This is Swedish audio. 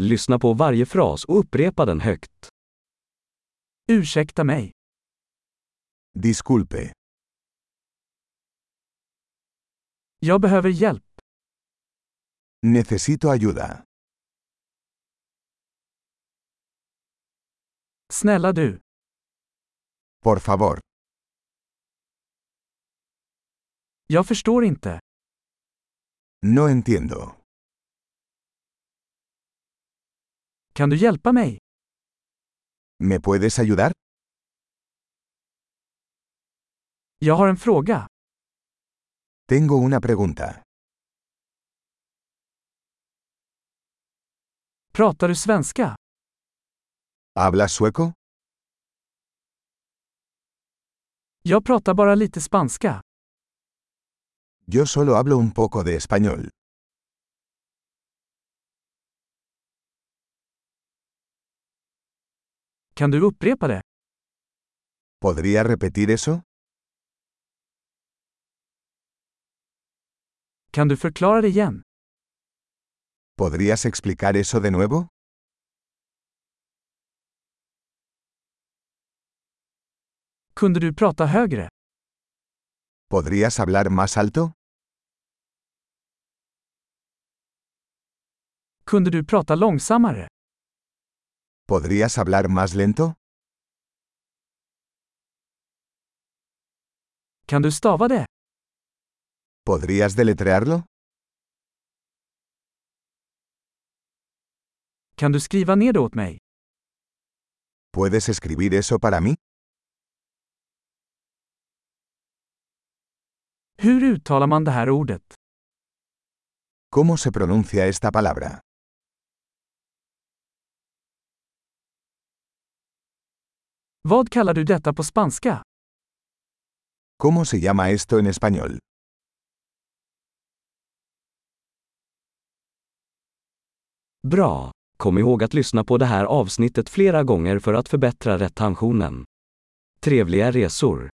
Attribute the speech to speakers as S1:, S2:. S1: Lyssna på varje fras och upprepa den högt.
S2: Ursäkta mig.
S3: Disculpe.
S2: Jag behöver hjälp.
S3: Necesito ayuda.
S2: Snälla du.
S3: Por favor.
S2: Jag förstår inte.
S3: No entiendo.
S2: Kan du hjälpa mig?
S3: ¿Me puedes ayudar?
S2: Jag har en fråga.
S3: Tengo una pregunta.
S2: Pratar du svenska?
S3: ¿Hablas sueco?
S2: Jag pratar bara lite spanska.
S3: Yo solo hablo un poco de español.
S2: Kan du upprepa det?
S3: ¿Podría repetir eso?
S2: Kan du förklara det igen?
S3: ¿Podrías explicar eso de nuevo?
S2: Kunde du prata högre?
S3: ¿Podrías hablar más alto?
S2: Kunde du prata långsammare?
S3: ¿Podrías hablar más lento?
S2: Kan du stava det?
S3: ¿Podrías deletrearlo?
S2: Kan du skriva ner det åt mig?
S3: ¿Puedes escribir eso para mí?
S2: Hur uttalar man det här ordet?
S3: ¿Cómo se pronuncia esta palabra?
S2: Vad kallar du detta på spanska?
S3: ¿Cómo se llama esto en español?
S1: Bra! Kom ihåg att lyssna på det här avsnittet flera gånger för att förbättra retentionen. Trevliga resor!